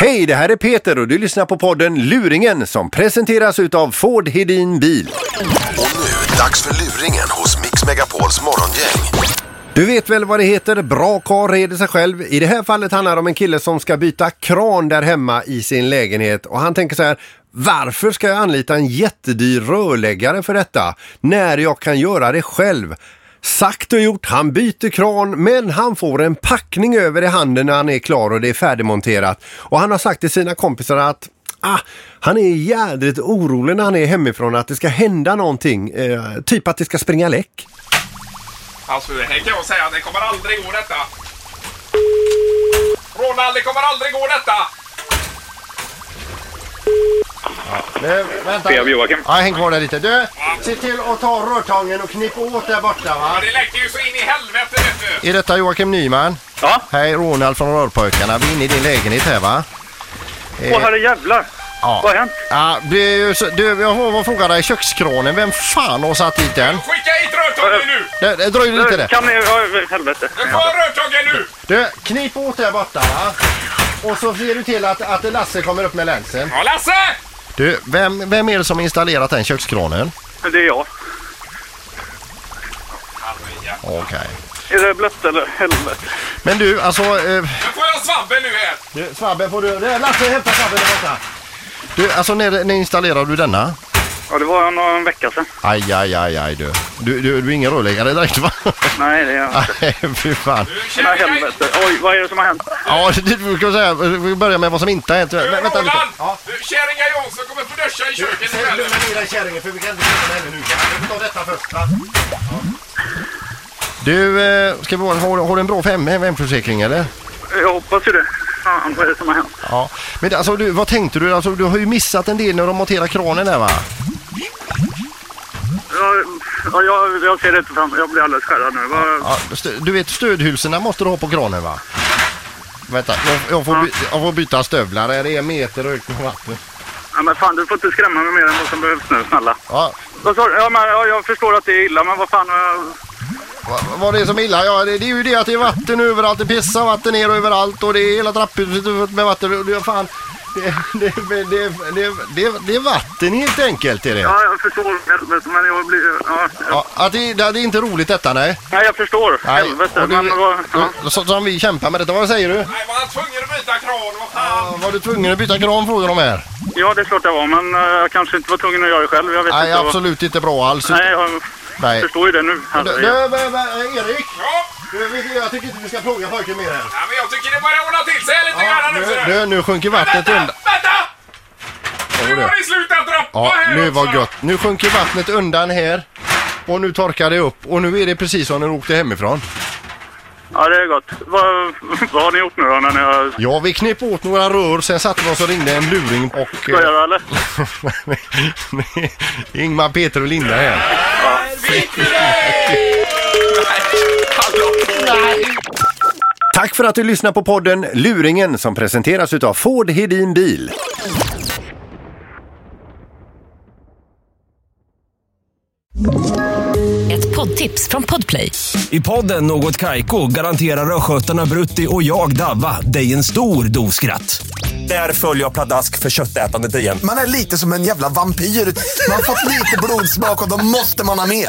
Hej, det här är Peter och du lyssnar på podden Luringen som presenteras utav Ford Hedin Bil. Och nu, dags för luringen hos Mix Megapols morgongäng. Du vet väl vad det heter, bra karl reder sig själv. I det här fallet handlar det om en kille som ska byta kran där hemma i sin lägenhet och han tänker så här, varför ska jag anlita en jättedyr rörläggare för detta när jag kan göra det själv? Sagt och gjort, han byter kran men han får en packning över i handen när han är klar och det är färdigmonterat. Och han har sagt till sina kompisar att Ah, han är jädrigt orolig när han är hemifrån att det ska hända någonting. Eh, typ att det ska springa läck. Alltså det här kan jag säga, det kommer aldrig gå detta. Ronald, det kommer aldrig gå detta! Nu, vänta. P.A. Joakim. Ja, häng kvar där lite. Du, se till att ta rörtången och knip åt där borta va. Ja, det läcker ju så in i helvete vet du! Är detta Joakim Nyman? Ja, Hej, Ronald från Rörpojkarna. Vi är inne i din lägenhet här va? åh herrejävlar. Eh, Ja. Vad har hänt? Ja, det är ju så, du, jag får fråga dig, kökskranen, vem fan har satt dit den? Skicka hit rörtången nu! Det, det dröjer lite där. Kan ni... ja, Helvete. Du får rörtången nu! Du, knip åt där borta va. Och så ser du till att, att Lasse kommer upp med länsen. Ja, Lasse! Du, vem, vem är det som installerat den kökskranen? Det är jag. Okej. Är det blött eller? Helvete. Men du, alltså... Eh, Nu får jag svabben nu här! Du, Svabben får du... Nej, Lasse, hämta Svabben där borta. Du, alltså när, när installerade du denna? Ja, det var en, en vecka sedan. Aj, aj, aj, aj du. Du, du, du är ingen rörläggare direkt va? Nej, det är jag inte. Nej, fy fan. Du Nej, känner dig... helvete. Oj, vad är det som har hänt? Ja, det- det ska vi säga. Vi börjar med vad som inte har hänt. Du, Vä- Vänta lite. Roland! Ja. Du, Kärringa Jansson kommer få duscha i köket ikväll. ner dig kärringen för vi kan inte prata med henne nu. Vi tar detta först va? Du, eh, ska vi, bara- har, har du en bra fem, hemförsäkring eller? Jag hoppas ju det. Fan, vad är det som har hänt? Ja. Men alltså, du, vad tänkte du? Alltså, du har ju missat en del när de monterar kranen där va? Jag, ja, jag, jag ser det inte fram Jag blir alldeles skärrad nu. Vad, Ja, stö- du vet stödhylsorna måste du ha på kranen va? Vänta, jag, jag, får, by, jag får byta stövlar. Det är en meter högt med vatten. ja, men fan, du får inte skrämma mig mer än vad som behövs nu, snälla. Ja, Vad sa du? Ja, men, ja, jag förstår att det är illa, men vad fan... eh, va- vad det är som är illa? Ja, det, det är ju det att det är vatten överallt. Det pissar vatten ner överallt och det är hela trapphuset fullt med vatten. Och det, är fan, det, det, det, det, det, det, det är vatten helt enkelt. Är det. Ja, jag förstår, helvete, men jag blir... Ja, Ja, att det, det det är inte roligt detta, nej. Nej, jag förstår. nej. Helvete. och men, vad, ja. du, så, som vi kämpar med detta. Vad säger du? Nej, var han tvungen att byta kran? Vad fan? Ja, var du tvungen att byta kran frågar de här? ja, det är klart jag var, men eh, jag kanske inte var tvungen att göra det själv. Jag vet Nej, inte. vad- absolut inte bra alls. Nej, jag Nej. förstår ju det nu. Alltså, Du, jag- du, men- men, Erik! Ja, Du, vi- Jag tycker inte vi ska plåga pojken mer här. nej, men jag tycker det börjar ordna till sig här lite Ja, grann nu. nu, ser du. nu, nu sjunker vattnet Vänta! undan. Vänta! Nu du. har det slutat droppa Ja, här nu var också. gött. Nu sjunker vattnet undan här. Och nu torkar det upp. Och nu är det precis som när du åkte hemifrån. Ja, det är gott. Vad, vad har ni gjort nu då när ni har... Ja, vi knep åt några rör, sen satte vi oss och ringde en luring och... eh, Ska jag göra eller? Ingmar, Peter och Linda här. Tack för att du lyssnar på podden Luringen som presenteras utav Ford Hedin Bil. Ett poddtips från Podplay. I podden Något Kaiko garanterar östgötarna Brutti och jag, Davva, dig en stor dos skratt. Där följer jag pladask för köttätandet igen. Man är lite som en jävla vampyr. Man har fått lite blodsmak och då måste man ha mer.